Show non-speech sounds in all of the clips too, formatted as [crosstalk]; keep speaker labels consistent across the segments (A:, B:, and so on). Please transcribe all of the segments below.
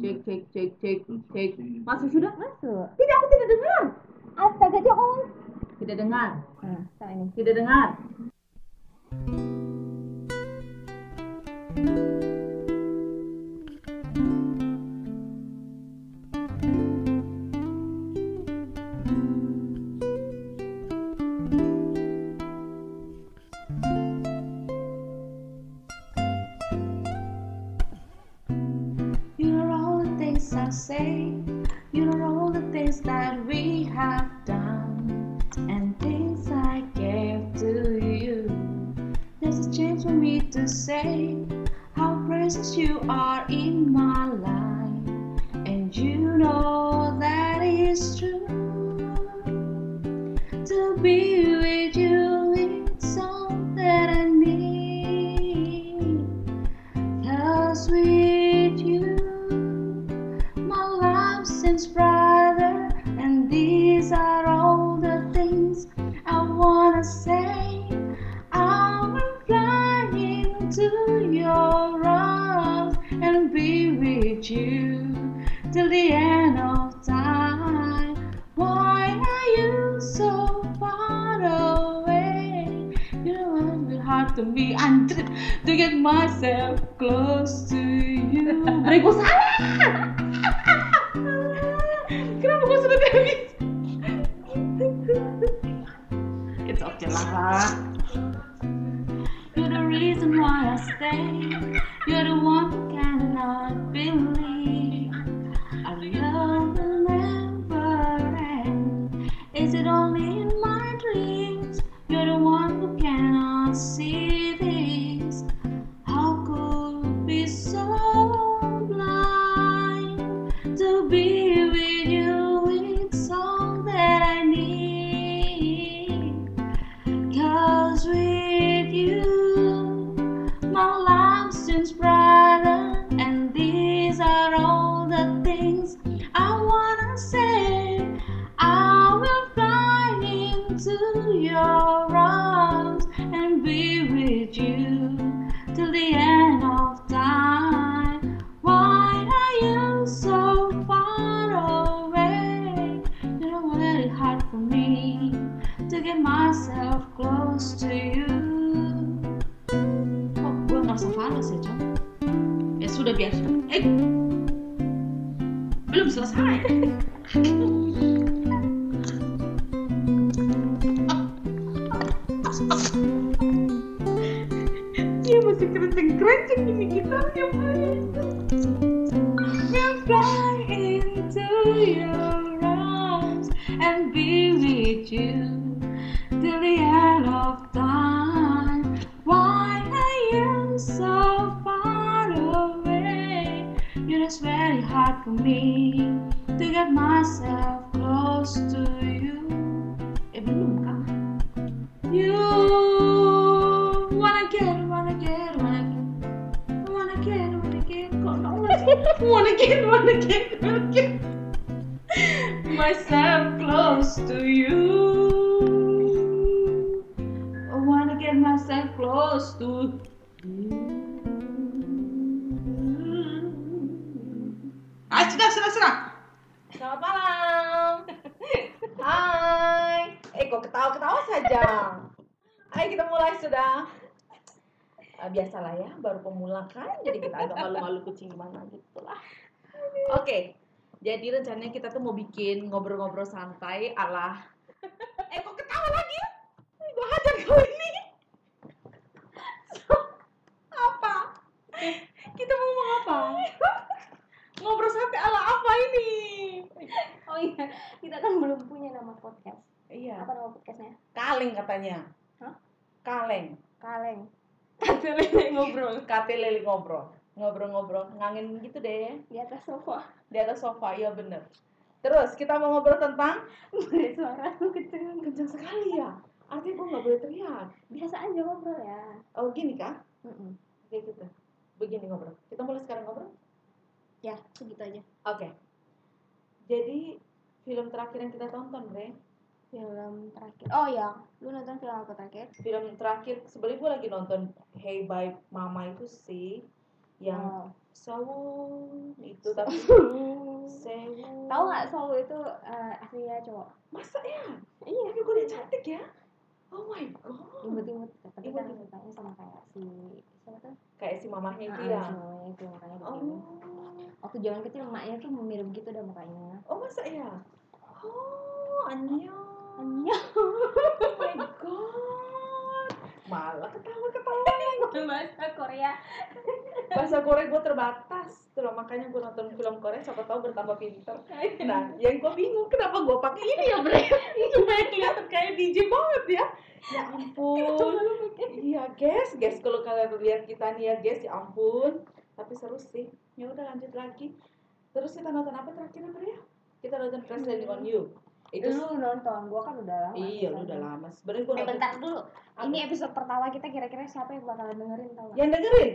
A: cek cek cek cek cek masuk sudah
B: Masuk.
A: tidak aku tidak dengar
B: Astaga, Cok, ngomong.
A: tidak dengar
B: Nah, sama ini.
A: tidak dengar
C: You know all the things I say. You know all the things that we have done. And things I gave to you. There's a chance for me to say how precious you are in my life. And you know that is true. To be with you is all that I need. Cause with you, my life seems brighter, and these are all the things I wanna say. I'm flying to your arms and be with you till the end of time. Why are you so far away? You know it's been hard to me and [laughs] to get myself close to you. Ada gue salah. [laughs] Kenapa gue sudah tidak bisa? It's okay lah. You're the reason why I stay. You're the one who cannot believe. Our love will never end. Is it only in my dreams? You're the one who cannot see this. How could we be so blind to be with you? It's all that I need. Cause with you, my life seems brighter, and these are all the things I wanna say. I will fly into your arms and be with you till the end of time. Why are you so far away? You know, really hard for me to get myself close to you. Kok gue ngerasa fals ya, Cok? Ya sudah biar sudah. Eh, belum selesai. Dia masih kenceng-kenceng ini gitarnya, Pak. We'll fly into your arms and be with you till the end of time. Why are you so far away? It is very hard for me to get myself close to you. Eh, belum kah? You wanna get, wanna get, wanna get. One again, one again, kok nol One again, one again, one again. Myself close to you. I wanna get myself close to you.
D: Ah, sudah, sudah, sudah.
A: selamat malam [laughs] hai eh kok ketawa ketawa saja ayo kita mulai sudah Ah, biasalah ya baru pemula kan jadi kita agak malu-malu kucing gimana gitu lah
C: Oke, jadi rencananya kita tuh mau bikin ngobrol-ngobrol santai ala Eh kok ketawa lagi? Gue hajar kau ini Apa? Kita mau ngomong apa? Ngobrol santai ala apa ini?
B: Oh iya, kita kan belum punya nama podcast.
D: Iya.
B: Apa nama podcastnya?
D: Kaleng katanya.
B: Hah?
D: Kaleng.
B: Kaleng.
D: Kate lele ngobrol. Kate lele ngobrol. Ngobrol-ngobrol. Ngangin gitu deh.
B: Di atas sofa. [laughs]
D: Di atas sofa. Iya bener. Terus kita mau ngobrol tentang
B: Boleh suara lu kenceng.
D: kencang sekali ya. Artinya gue nggak boleh teriak.
B: Biasa aja ngobrol ya.
D: Oh gini kah?
B: Mm-mm.
D: Kayak gitu. Begini ngobrol. Kita mulai sekarang ngobrol.
B: Ya, segitu aja.
D: Oke. Jadi film terakhir yang kita tonton, Bre.
B: Film terakhir. Oh iya, lu nonton film apa terakhir?
D: Film terakhir sebenarnya gue lagi nonton Hey Bye Mama itu sih.
B: Oh.
A: yang sawun itu tapi sewu
B: Tahu nggak Solo itu eh, aslinya cowok?
A: masa ya
B: Iya.
A: tapi gue udah cantik ya oh my god
B: Imut-imut. Tapi kan
A: Imut-imut.
B: mukanya sama kayak si siapa tuh?
A: kayak si mamahnya itu
B: Ah,
A: ya
B: cowoknya itu mukanya
A: oh
B: begini. Waktu zaman kecil emaknya tuh mirip gitu dah mukanya.
A: oh masa ya oh anjing
B: Iya.
A: Oh my god. Malah ketawa-ketawa.
B: Bahasa [laughs] Korea.
A: Bahasa Korea gue terbatas. Tuh loh, makanya gue nonton film Korea siapa tahu bertambah pinter. Nah, yang gue bingung kenapa gue pakai ini ya,
D: [laughs]
A: Bre? Supaya kelihatan kayak DJ banget ya. Ya ampun. Iya, guys, guys kalau kalian lihat kita nih ya, guys, ya ampun. Tapi seru sih. Ya udah lanjut lagi. Terus kita nonton apa terakhir, Bre? ya? Kita nonton Crash Landing
B: Hmm.
A: on You. Itu
B: Lu nonton, gua kan udah lama.
A: Iya,
B: nonton.
A: lu udah lama. Sebenarnya gue
B: Eh
A: nonton
B: bentar dulu.
A: Apa?
B: Ini episode pertama kita kira-kira siapa yang bakalan dengerin tau nggak?
A: yang dengerin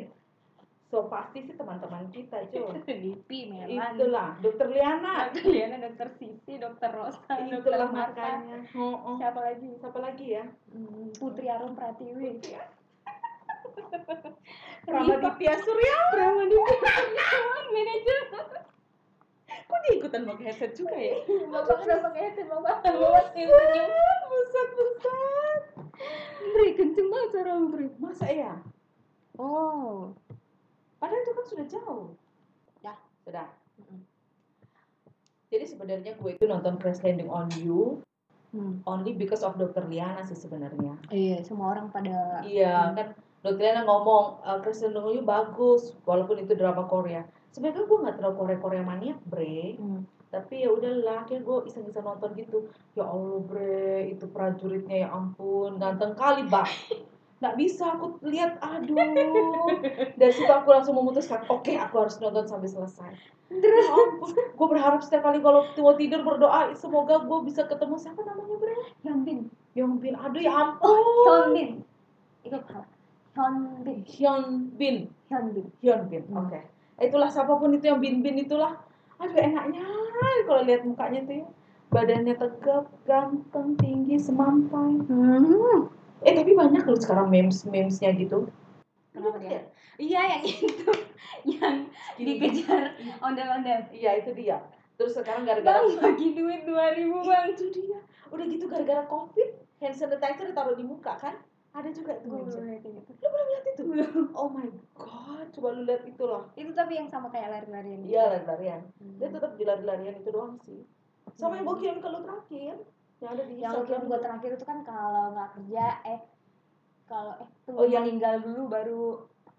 A: so pasti sih teman-teman kita
B: [laughs]
A: cuy
B: Dipi,
A: itulah dokter Liana
B: Dokter Liana, ya, dokter Siti, dokter Rosa, dokter
A: itulah
B: Marta.
A: makanya oh, oh.
B: Siapa lagi?
A: siapa lagi ya
B: Hmm, Putri Arum [laughs] Pratiwi.
A: Pramaditya Surya Pramaditya
B: [laughs] manajer.
A: kok dia ikutan pakai headset juga ya
B: Bapak udah pakai headset, Bapak.
A: buset buset buset
B: Beri, kenceng banget suara lu, Beri.
A: masa ya
B: Oh.
A: padahal itu kan sudah jauh
B: Dah.
A: sudah
B: Ya. Mm-mm.
A: jadi sebenarnya gue itu nonton Crash Landing on You
B: Hmm.
A: only because of Dokter Liana sih sebenarnya
B: Iya, semua orang pada
A: Iya
B: Hmm.
A: kan Lutriana ngomong e, Kristen Dungu bagus walaupun itu drama Korea. Sebenarnya gue nggak terlalu Korea Korea maniak bre,
B: Hmm.
A: tapi ya udahlah akhirnya gue iseng-iseng nonton gitu. Ya Allah bre, itu prajuritnya ya ampun ganteng kali bang. Nggak bisa aku lihat, aduh. Dari situ aku langsung memutuskan, oke aku harus nonton sampai selesai. Ya ampun, gue berharap setiap kali kalau tua tidur berdoa, semoga gue bisa ketemu siapa namanya bre?
B: Hyunbin.
A: Yongbin, aduh ya ampun.
B: Hyunbin. Oh. Itu apa? Hyunbin.
A: Hyunbin.
B: Hyunbin.
A: Hyun Bin,
B: Hmm.
A: oke. Itulah siapapun itu yang Bin Bin itulah. Aduh enaknya kalau lihat mukanya tuh ya. Badannya tegap, ganteng, tinggi, semampai.
B: Hmm.
A: Eh tapi banyak loh sekarang memes-memesnya gitu.
B: Kenapa dia? Iya, yang itu. yang dikejar ondel-ondel.
A: Iya itu dia. Terus sekarang gara-gara
B: Bang, bagi duit 2000, Bang.
A: itu dia. Udah gitu gara-gara covid, hand sanitizer ditaruh di muka kan? Ada juga itu.
B: Gua
A: memesnya.
B: belum lihat yang itu.
A: Lu belum lihat itu? Oh my god, coba lu lihat itu loh.
B: Itu tapi yang sama kayak lari-larian. gitu.
A: Iya lari-larian.
B: Hmm.
A: Dia tetap di lari-larian itu doang sih. Sama yang
B: Hmm.
A: gue kirim ke lu terakhir. Yang ada di
B: yang
A: Instagram
B: kirim gue terakhir itu kan kalau nggak kerja eh kalau eh tunggu
A: Oh, yang-
B: meninggal dulu baru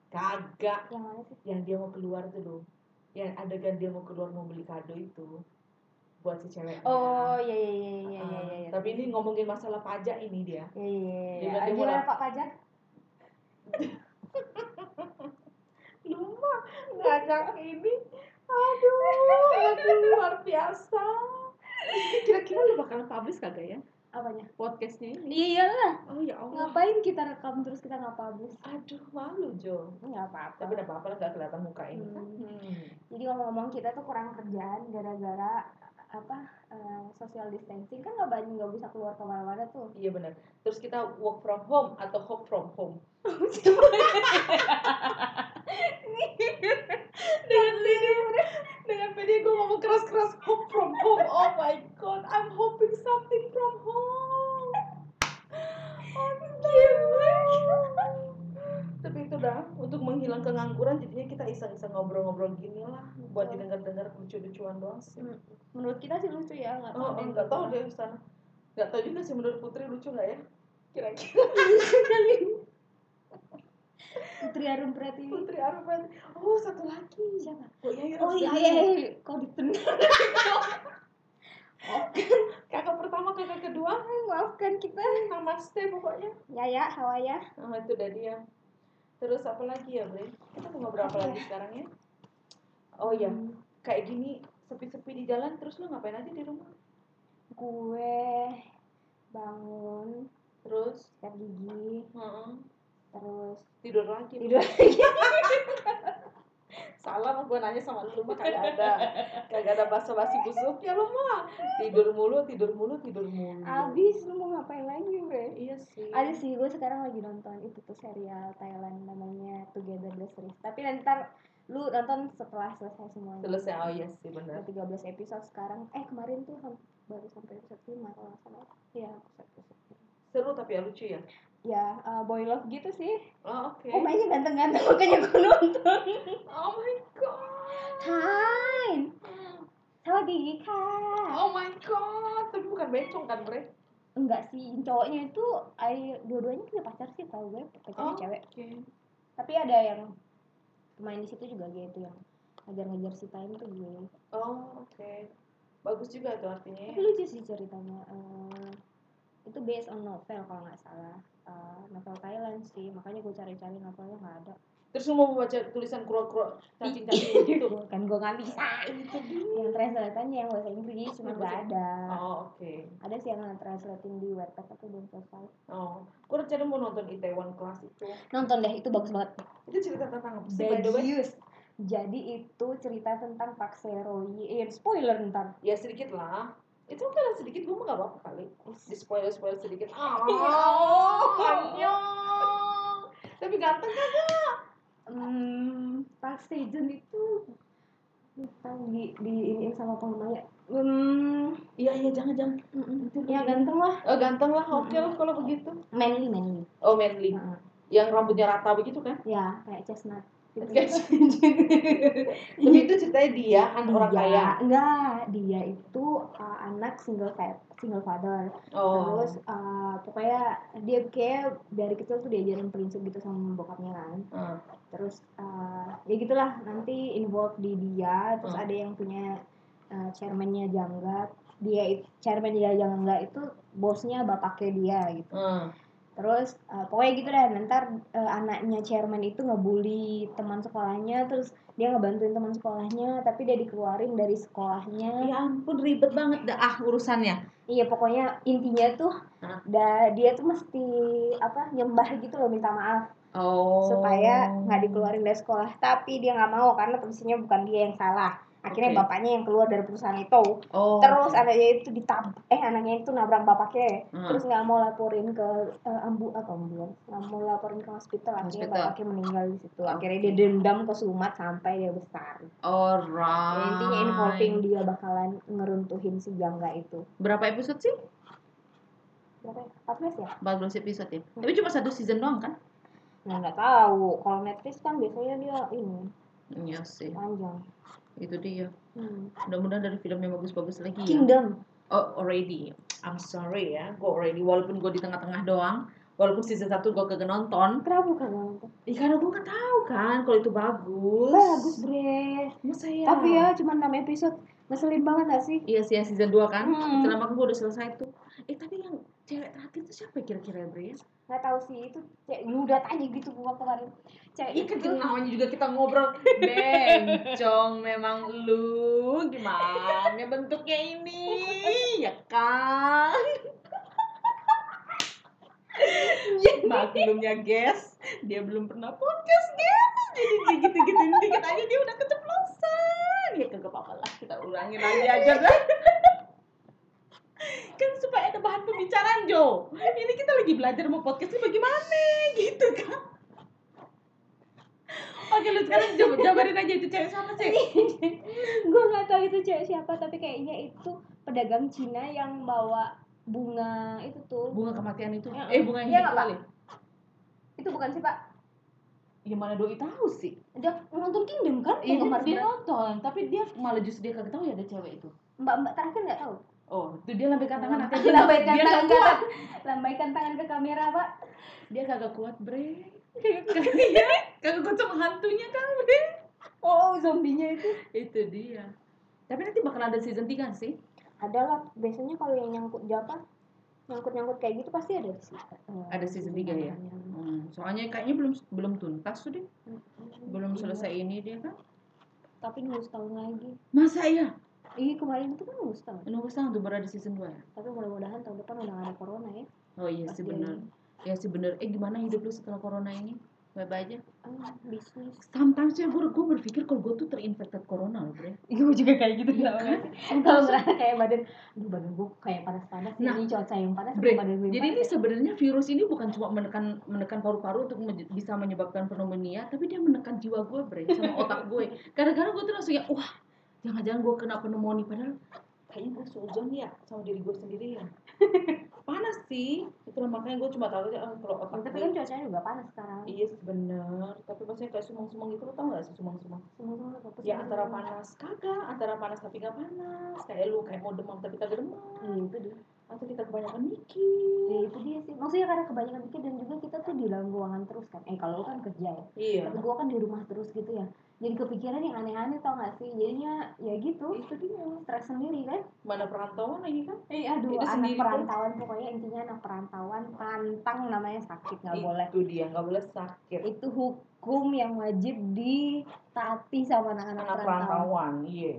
A: Kagak.
B: yang mana sih
A: yang dia mau keluar tuh loh yang adegan dia mau keluar mau beli kado itu buat si cewek
B: oh iya iya iya iya iya iya
A: tapi ini ngomongin masalah pajak ini dia
B: iya iya iya
A: Dia
B: Ah,
A: ganti
B: gimana
A: bola.
B: pak pajak
A: lumah ngajak ini aduh aduh luar biasa Ini kira-kira lu bakal publish kagak ya
B: apanya
A: podcastnya ini?
B: iya iyalah
A: oh ya allah
B: ngapain kita rekam terus kita nggak publish
A: aduh malu Jo
B: nggak apa-apa
A: tapi udah apa-apa lah nggak kelihatan muka ini kan
B: Hmm. jadi ngomong-ngomong kita tuh kurang kerjaan gara-gara apa eh, social distancing kan nggak banyak nggak bisa keluar kemana-mana tuh
A: iya benar terus kita work from home atau home from home dengan pede dengan pede gue ngomong keras keras hope from home oh my god I'm hoping something from home Gila. Iya, tapi itu dah untuk menghilang kengangguran jadinya kita iseng iseng ngobrol ngobrol gini lah buat
B: Betul.
A: didengar dengar lucu lucuan doang sih
B: menurut kita sih lucu ya nggak tahu
A: Mm, oh
B: deh.
A: nggak tahu deh sana nggak tahu juga sih menurut putri lucu nggak ya kira-kira
B: Putri Arum Pratiwi
A: putri Arfan oh satu lagi
B: siapa
A: Oh iya,
B: Oh iya, iya, iya. kok
A: [laughs]
B: ditendang?
A: kakak pertama, kakak kedua,
B: Maafkan kita.
A: namaste pokoknya.
B: Ya ya, Hawaya.
A: Oh, itu udah dia. Terus apa lagi ya, Bre? Kita mau ngobrol apa lagi sekarang ya? Oh iya, kayak gini sepi-sepi di jalan terus lu ngapain aja di rumah?
B: Gue bangun,
A: Terus
B: sikat gigi,
A: heeh,
B: terus
A: tidur lagi. [laughs]
B: tidur lagi.
A: Salah mah gua nanya sama lu mah kagak ada. Kagak ada basa-basi busuk ya lu mah. Tidur mulu, tidur mulu, tidur mulu.
B: Abis lu mau ngapain lagi, Bre?
A: Iya sih.
B: Ada sih, gue sekarang lagi nonton itu tuh serial Thailand namanya Together the Series. Tapi nanti ntar lu nonton setelah selesai semuanya
A: Selesai, oh iya sih benar.
B: Ada 13 episode sekarang eh kemarin tuh ham- baru sampai episode 5 kalau nggak salah
A: Iya,
B: ya episode
A: Seru tapi ya lucu ya.
B: ya eh, boy love gitu sih
A: Oh oke.
B: oh mainnya ganteng-ganteng [laughs] makanya gue nonton
A: Oh my god.
B: Kain Saudi kak
A: Oh my god. Tapi bukan bencong kan Bre?
B: enggak sih cowoknya itu ay dua-duanya punya pacar sih tau gue pacarnya
A: Oh.
B: cewek
A: Oke.
B: tapi ada yang main di situ juga gitu yang ngejar-ngejar si time tuh gue
A: Oh oke. Bagus juga tuh
B: tapi
A: artinya. ya.
B: lucu sih ceritanya Eh, itu based on novel kalau nggak salah Eh, novel Thailand sih makanya gue cari-cari novelnya nggak ada
A: Terus lu mau baca tulisan kuro-kuro cacing-cacing gitu.
B: kan gue nggak bisa gitu. yang translatannya yang bahasa Inggris cuma
A: Yang
B: nggak
A: bahasa-
B: ada
A: Oh oke.
B: ada sih yang translating di webpad tapi belum selesai
A: Oh. Gue rencana mau nonton Itaewon Class itu.
B: nonton deh itu bagus banget
A: Itu cerita tentang apa sih by the way?
B: Bagus. Jadi itu cerita tentang Pak Seroyi. Eh, spoiler ntar.
A: Ya sedikit lah. Itu kan sedikit gue mah gak apa-apa kali. Di spoiler spoiler sedikit. Ah, Oh, anjong. Tapi ganteng kagak.
B: Hmm, Pak Sejun itu lupa di diinin sama pemainnya. Hmm,
A: Iya iya jangan jangan.
B: ya ganteng lah.
A: Oh ganteng lah, oke lah kalau begitu.
B: Manly, manly.
A: Oh manly,
B: Heeh.
A: yang rambutnya rata begitu kan?
B: Ya, kayak chestnut. gitu.
A: Kayak
B: [laughs]
A: [laughs] Tapi itu ceritanya dia kan orang
B: Dia-
A: kaya.
B: Enggak, dia itu uh, anak single fa- single father.
A: Oh.
B: Terus uh, pokoknya dia kayak dari kecil tuh diajarin prinsip gitu sama bokapnya kan.
A: Ah,
B: terus eh, ya gitulah nanti involve di dia terus
A: Hmm.
B: ada yang punya eh, chairmannya janggat dia it- chairman dia janggat itu bosnya bapaknya dia gitu
A: ah.
B: terus eh, pokoknya gitu dah nanti anaknya chairman itu ngebully teman sekolahnya terus dia ngebantuin teman sekolahnya tapi dia dikeluarin dari sekolahnya
A: Ya ampun ribet banget dah ah urusannya.
B: iya pokoknya intinya tuh
A: Hah?
B: da- dia tuh mesti apa nyembah gitu loh minta maaf
A: Oh.
B: supaya nggak dikeluarin dari sekolah tapi dia nggak mau karena posisinya bukan dia yang salah akhirnya
A: Oke.
B: bapaknya yang keluar dari perusahaan itu
A: Oh.
B: terus anaknya itu ditab eh anaknya itu nabrak bapaknya
A: Hmm.
B: terus nggak mau laporin ke eh, ambu apa ambulan nggak mau laporin ke hospital akhirnya
A: Hospital.
B: bapaknya meninggal di situ akhirnya
A: Oke.
B: dia dendam ke Sumat sampai dia besar
A: Alright.
B: intinya involving
A: Ah.
B: dia bakalan ngeruntuhin si jangga itu
A: Berapa episode sih?
B: berapa ya? 14 ya
A: 14 episode ya. Tapi cuma satu season doang kan?
B: nah nggak tahu kalau Netflix kan biasanya dia ini
A: Iya sih.
B: panjang
A: Itu dia.
B: Hmm.
A: Mudah-mudahan dari film yang bagus-bagus lagi ya.
B: Kingdom
A: Oh, already. I'm sorry ya, gue already. Walaupun gue di tengah-tengah doang, walaupun season 1 gue kagak nonton.
B: kenapa bukan nonton?
A: Ya karena gue nggak tahu kan kalau itu bagus.
B: bagus bre
A: Masa ya?
B: tapi ya cuma 6 episode ngeselin banget gak sih
A: Iya sih, yang season 2 kan.
B: Hmm.
A: Selama gue udah selesai tuh. Eh, tapi yang cewek terakhir itu siapa ya kira-kira ya, Bre? ya?
B: nggak tahu sih itu cek nyudat aja gitu gua kemarin cek
A: Iya kan kita namanya juga kita ngobrol Bencong memang lu Gimana bentuknya ini Ya kan Maklumnya guys Dia belum pernah podcast guys Jadi gitu-gituin dikit aja dia udah keceplosan Ya kagak apa-apa lah Kita ulangin lagi aja lah kan supaya ada bahan pembicaraan Jo ini kita lagi belajar mau podcastnya bagaimana gitu kan Oke lu sekarang jab- jabarin aja itu cewek sama sih.
B: [laughs] gua nggak tahu itu cewek siapa tapi kayaknya itu pedagang Cina yang bawa bunga itu tuh
A: Bunga kematian itu.
B: Ya,
A: Eh bunga yang
B: iya
A: hidup
B: nggak,
A: kali.
B: itu bukan sih pak
A: Gimana Ya, doi tahu sih?
B: udah nonton Kingdom kan Yang
A: Ini
B: kemarin
A: Iya, dia nonton, tapi dia malah justru dia kagak tahu ya ada cewek itu.
B: mbak mbak terakhir nggak tahu
A: Oh, itu dia lambaikan tangan nanti dia
B: lambaikan
A: dia
B: tangan
A: nggak
B: ke
A: kuat.
B: lambaikan tangan ke kamera pak
A: Dia kagak kuat, Bre. Kagak iya, kagak kuat sama hantunya kan, Bre.
B: oh zombinya itu
A: Itu dia. Tapi nanti bakal ada season 3 sih.
B: adalah biasanya kalau yang nyangkut japa nyangkut nyangkut kayak gitu pasti ada sih
A: Ada season tiga ya? Hmm, soalnya kayaknya belum belum tuntas tuh deh. Belum selesai ini dia kan.
B: Iya. tapi nunggu setahun lagi
A: Masa iya?
B: iya kemarin itu kan nunggu setahun
A: Nunggu setahun tuh baru ada season 2 ya?
B: tapi mudah-mudahan tahun depan udah nggak ada corona ya
A: Oh iya
B: Pas
A: sih
B: dia
A: bener.
B: ini.
A: Ya sih bener. Eh gimana hidup lu setelah corona ini?
D: Bye aja.
B: Ah, bisnis
A: Sometimes ya gue gue berpikir kalau gue tuh terinfected corona loh bre.
B: gue juga kayak gitu tau [laughs] nggak sih? tau nggak ya. kayak badan aduh badan gue kayak panas-panas
A: Nah,
B: ini cuaca yang panas
A: Bre,
B: badan gue
A: Jadi ini
B: panas.
A: sebenarnya virus ini bukan cuma menekan menekan paru-paru untuk menje- bisa menyebabkan pneumonia, tapi dia menekan jiwa gue, bre, sama otak gue. Kadang-kadang gue tuh langsung ya, wah, jangan-jangan gue kena pneumonia padahal "Ah, kayaknya gue seuzon ya sama diri gue sendiri
B: [laughs]
A: ya. Panas sih, itulah makanya gue cuma tahu aja ah,
B: Ya,
A: kalau otak
B: tapi
A: gue-
B: kan cuacanya juga panas sekarang
A: Iya bener, tapi maksudnya kayak sumang-sumang gitu, lo tau gak sih sumang-sumang?
B: Semoga nggak
A: Ya
B: pusing.
A: antara panas kagak, antara panas tapi gak panas Kayak lu kayak mau demam tapi kagak demam
B: Iya, itu dia
A: Atau kita kebanyakan
B: Ya,
A: mikir
B: itu dia sih maksudnya karena kebanyakan pikir dan juga kita tuh di dalam ruangan terus kan eh kalau lu kan kerja ya
A: Iya
B: tapi gue kan di rumah terus gitu ya jadi kepikiran yang aneh-aneh tau gak sih jadinya ya gitu
A: Itu dia,
B: stres sendiri kan
A: mana perantauan lagi kan
B: eh aduh
A: Itu
B: anak
A: sendiri pun.
B: perantauan pokoknya intinya anak perantauan pantang namanya sakit nggak Iya. boleh
A: Itu dia, gak boleh sakit
B: itu hukum yang wajib ditaati sama anak-anak
A: Anak
B: perantauan
A: perantauan, iya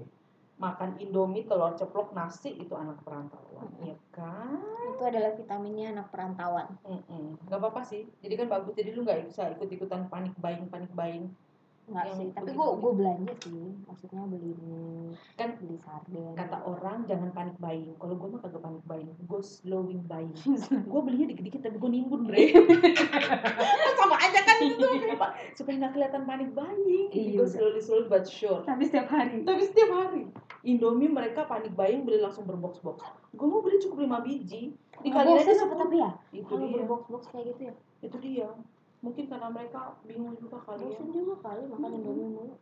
A: Makan indomie, telur ceplok, nasi itu anak perantauan Iya kan?
B: itu adalah vitaminnya anak perantauan
A: Mm-mm. Gak apa-apa sih, jadi kan bagus Jadi lu gak bisa ikut-ikutan panik buying-panik buying
B: enggak
A: Yang
B: sih tapi
A: begitu-
B: gue gue belanja sih maksudnya beli mie
A: Kan
B: beli sarden
A: kata orang jangan panik buying kalau gue mah kagak panik buying gue slowing buying gue belinya dikit dikit tapi gue nimbun bre sama aja kan itu tuh kenapa? supaya nggak kelihatan panik buying jadi
B: Iya,
A: gue
B: udah.
A: slowly slowly but sure
B: tapi setiap hari
A: tapi setiap hari Indomie mereka panik buying beli langsung berbox box gue mau beli cukup 5 biji dikali aja
B: Boxes apa
A: sepuluh.
B: tapi ya
A: itu
B: kalau
A: dia Iya.
B: berbox-box kayak gitu ya
A: itu dia mungkin karena mereka bingung juga kali ya
B: bosen juga kali makan
A: Hmm.
B: indomie mulu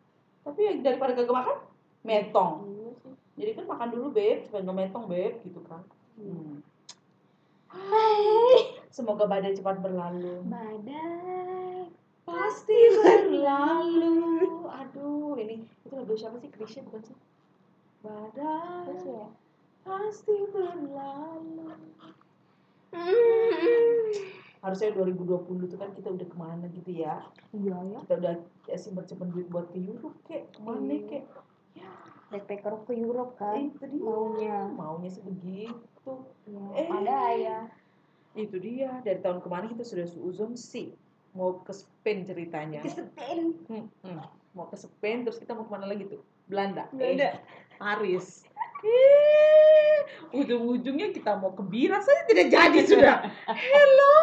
A: tapi ya daripada kagak makan metong
B: Iya sih.
A: jadi kan makan dulu beb supaya nggak metong beb gitu kan Hmm. Semoga badai cepat berlalu.
B: badai
A: Pasti berlalu. Aduh, ini itu lagu siapa sih? Krisya bukan sih?
B: terus
A: Badai
B: ya
A: pasti berlalu. Hmm. Harusnya 2020 tuh kan kita udah kemana gitu ya?
B: iya ya
A: Kita udah ya, simpen-simpen duit buat ke Europe kek, kemana
B: Iya.
A: kek?
B: backpacker ke Europe
A: Eh,
B: kan
A: itu dia.
B: maunya.
A: Maunya sih begitu.
B: ya,
A: Eh.
B: ada ya
A: Itu dia. Dari tahun kemarin kita sudah seuzon sih. Mau ke Spain ceritanya.
B: kesetin
A: Mm-mm. Hmm, nah, Mau ke Spain, terus kita mau kemana lagi tuh? Belanda.
B: Belanda.
A: Eh, Paris. Eh, ujung-ujungnya kita mau ke Bira saja tidak jadi sudah. Hello,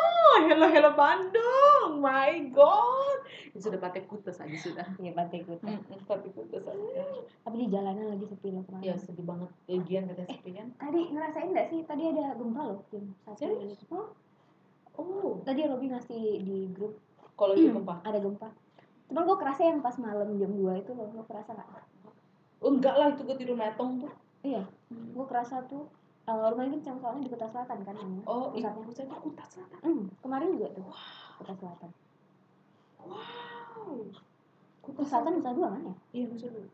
A: hello, hello Bandung. My God. Ya, sudah pakai kutes aja sudah.
B: ya pantai Kuta.
A: Mm-mm, Tapi kutes aja.
B: tapi di jalanan lagi sepi loh kemarin
A: Ya sedih banget. Legian katanya sepi kan.
B: tadi ngerasain nggak sih tadi ada gempa loh jam satu
A: Serius? Oh,
B: tadi Robi ngasih di grup
A: kalau itu gempa.
B: ada gempa cuman gue kerasa yang pas malam jam 2 itu loh gue kerasa nggak
A: Oh, enggak lah itu gue tidur metong tuh.
B: iya gue kerasa tuh eh, rumahnya kencang soalnya di kota selatan kan namanya.
A: Oh, iya.
B: pusatnya
A: Pusat itu kutas selatan.
B: Hmm, kemarin juga tuh kota selatan
A: Wow.
B: kota
A: Kutas
B: selatan
A: selatan.
B: nusa dua kan ya
A: Iya, Nusa Dua.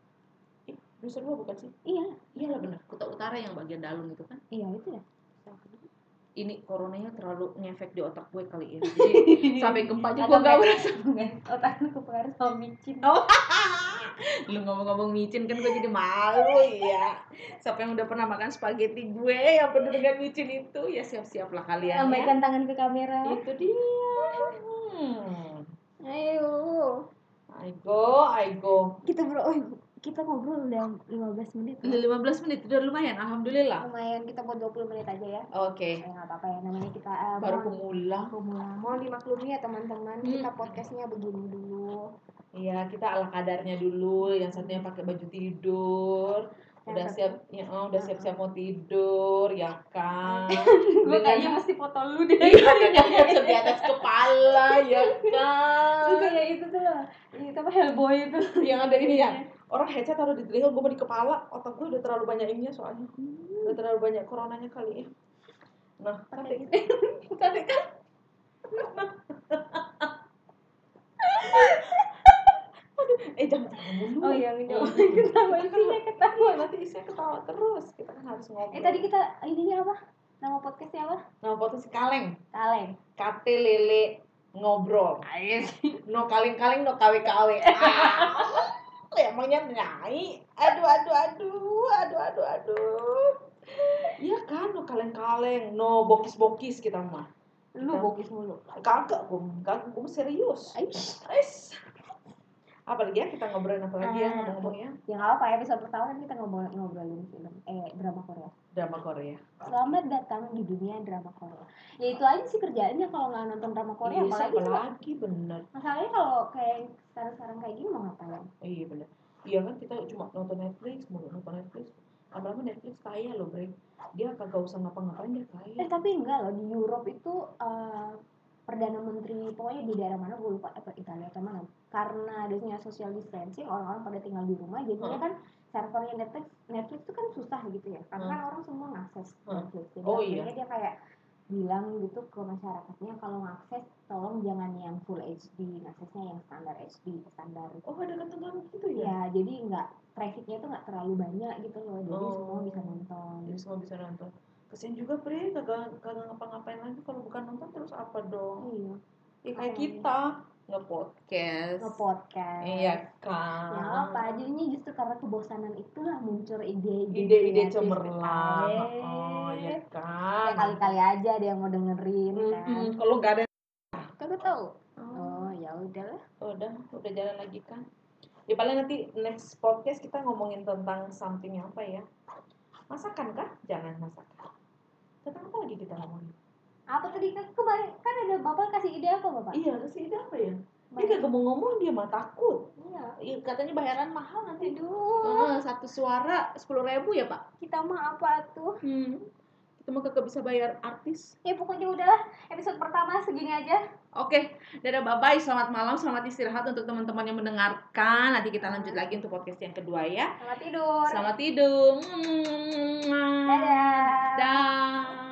A: Ih, Nusa Dua bukan sih?
B: iya
A: Iya lah benar. Kota Utara yang bagian dalam itu kan.
B: iya itu ya
A: Ini coronanya terlalu ngefek di otak gue kali
B: [laughs]
A: ya. Jadi sampai gempa aja gue gak berasa.
B: otak lu kepengaruh sama micin
A: Oh. [laughs] Lu ngomong-ngomong micin kan gue jadi malu ya. Siapa yang udah pernah makan spaghetti gue yang penuh dengan micin itu ya siap-siap lah kalian ya.
B: Lambaikan tangan ke kamera.
A: Itu dia. Hmm.
B: Ayo.
A: I go, I go.
B: Kita bro, oh, kita ngobrol udah 15 menit.
A: Udah 15 menit udah lumayan, alhamdulillah.
B: Lumayan kita buat 20 menit aja ya.
A: Oke,
B: Ya nggak apa-apa ya namanya kita eh,
A: baru
B: mohon-
A: pemula.
B: pemula. Mohon dimaklumi ya teman-teman,
A: Hmm.
B: kita podcastnya begini dulu.
A: Iya, kita ala kadarnya dulu. Yang satunya pakai baju tidur.
B: Hmm. Yang
A: Udah
B: satu-
A: siap, ya, oh, udah siap-siap mau tidur, ya kan?
B: [laughs] Gue kayaknya mesti foto lu deh.
A: Dengan headset di atas kepala, ya
B: Lu
A: kan?
B: kayak Ya, itu tuh loh. Itu apa Hellboy itu.
A: Yang ada ini ya, orang headset taruh di telinga, gue mau di kepala. Otak gue udah terlalu banyak ininya soalnya. Udah terlalu banyak coronanya kali ya. Nah,
B: Pakai
A: tapi
B: gitu.
A: [laughs] tapi kan eh jangan kamu dulu.
B: Oh iya, minum. kan?
A: Eh,
B: [laughs] Ketawa isinya ketawa.
A: Iya, nanti isinya ketawa terus. Kita kan harus ngobrol.
B: Eh tadi kita ininya apa? Nama podcastnya apa?
A: Nah, foto si kaleng.
B: Kaleng.
A: Kate lele ngobrol.
B: Ayo
A: No kaleng-kaleng, no kawe-kawe. Ah, [laughs] emangnya nyai. Aduh, aduh, aduh, aduh, aduh, aduh. Iya kan, no kaleng-kaleng, no bokis-bokis kita mah.
B: Lu bokis mulu.
A: Kagak kum, kagak kum serius.
B: Aish.
A: Guys. Apa lagi ya kita ngobrolin apa lagi ya
B: Ah.
A: ngomong-ngomong ya
B: Ya nggak apa episode pertama kan kita ngobrol ngobrolin film eh drama Korea.
A: drama Korea.
B: Selamat datang di dunia drama Korea. Ya itu aja sih kerjaannya kalau nggak nonton drama Korea
A: iya,
B: apalagi
A: siapa
B: coba.
A: lagi bener.
B: Masalahnya kalau kayak sekarang-sekarang kayak gini mau ngapain?
A: Iya bener. Iya kan kita cuma nonton Netflix, mulu nonton Netflix. Lama-lama Netflix kaya loh, Bre. Dia kagak usah ngapa-ngapain dia kaya.
B: Eh tapi enggak loh di Europe itu eh, perdana menteri pokoknya di daerah mana gue lupa apa Italia atau mana karena adanya social distancing orang-orang pada tinggal di rumah jadinya
A: Hmm.
B: kan servernya Netflix Netflix itu kan susah gitu ya karena
A: Hmm.
B: kan orang semua ngakses
A: Hmm.
B: Netflix jadi
A: Oh,
B: akhirnya dia kayak bilang gitu ke masyarakatnya kalau ngakses tolong jangan yang full HD ngaksesnya yang standar HD standar
A: Oh, ada ketentuan gitu ya?
B: ya jadi nggak trafficnya tuh nggak terlalu banyak gitu loh jadi
A: Oh.
B: semua bisa nonton
A: Jadi semua bisa nonton. Kesian juga, Bre. Kagak kagak ngapa-ngapain lagi kalau bukan nonton terus apa dong?
B: iya
A: Ya kayak
B: Apalagi?
A: kita nge-podcast.
B: ngepodcast
A: Iya
B: Ya
A: kan.
B: apa jadinya justru karena kebosanan itulah muncul ide-ide
A: Ide-ide
B: kreatif.
A: cemerlang.
B: Eh,
A: Oh, ya
B: ya
A: kan.
B: kali-kali aja ada yang mau dengerin kan.
A: Mm-mm, Kalau nggak ada
B: Kagak tahu.
A: Oh,
B: Oh, ya udahlah.
A: udah, udah jalan lagi kan. Ya paling nanti next podcast kita ngomongin tentang something apa ya? Masakan kah? Jangan masakan. Tentang apa lagi kita ngomongin?
B: Apa tadi kan kemarin kan ada Bapak kasih ide apa, Bapak?
A: Iya, kasih ide apa ya? Dia
B: Kemarin.
A: kagak mau ngomong, dia mah takut.
B: Iya.
A: Iya, katanya bayaran mahal nanti.
B: Aduh,
A: Heeh, satu suara sepuluh ribu ya pak?
B: kita mah apa tuh?
A: Hmm. Kita mah kagak bisa bayar artis.
B: Ya pokoknya udahlah, episode pertama segini aja.
A: Oke, dadah bye-bye. Selamat malam, selamat istirahat untuk teman-teman yang mendengarkan. Nanti kita lanjut lagi untuk podcast yang kedua ya.
B: Selamat tidur.
A: Hmm. Selamat tidur.
B: Dadah.
A: Dah.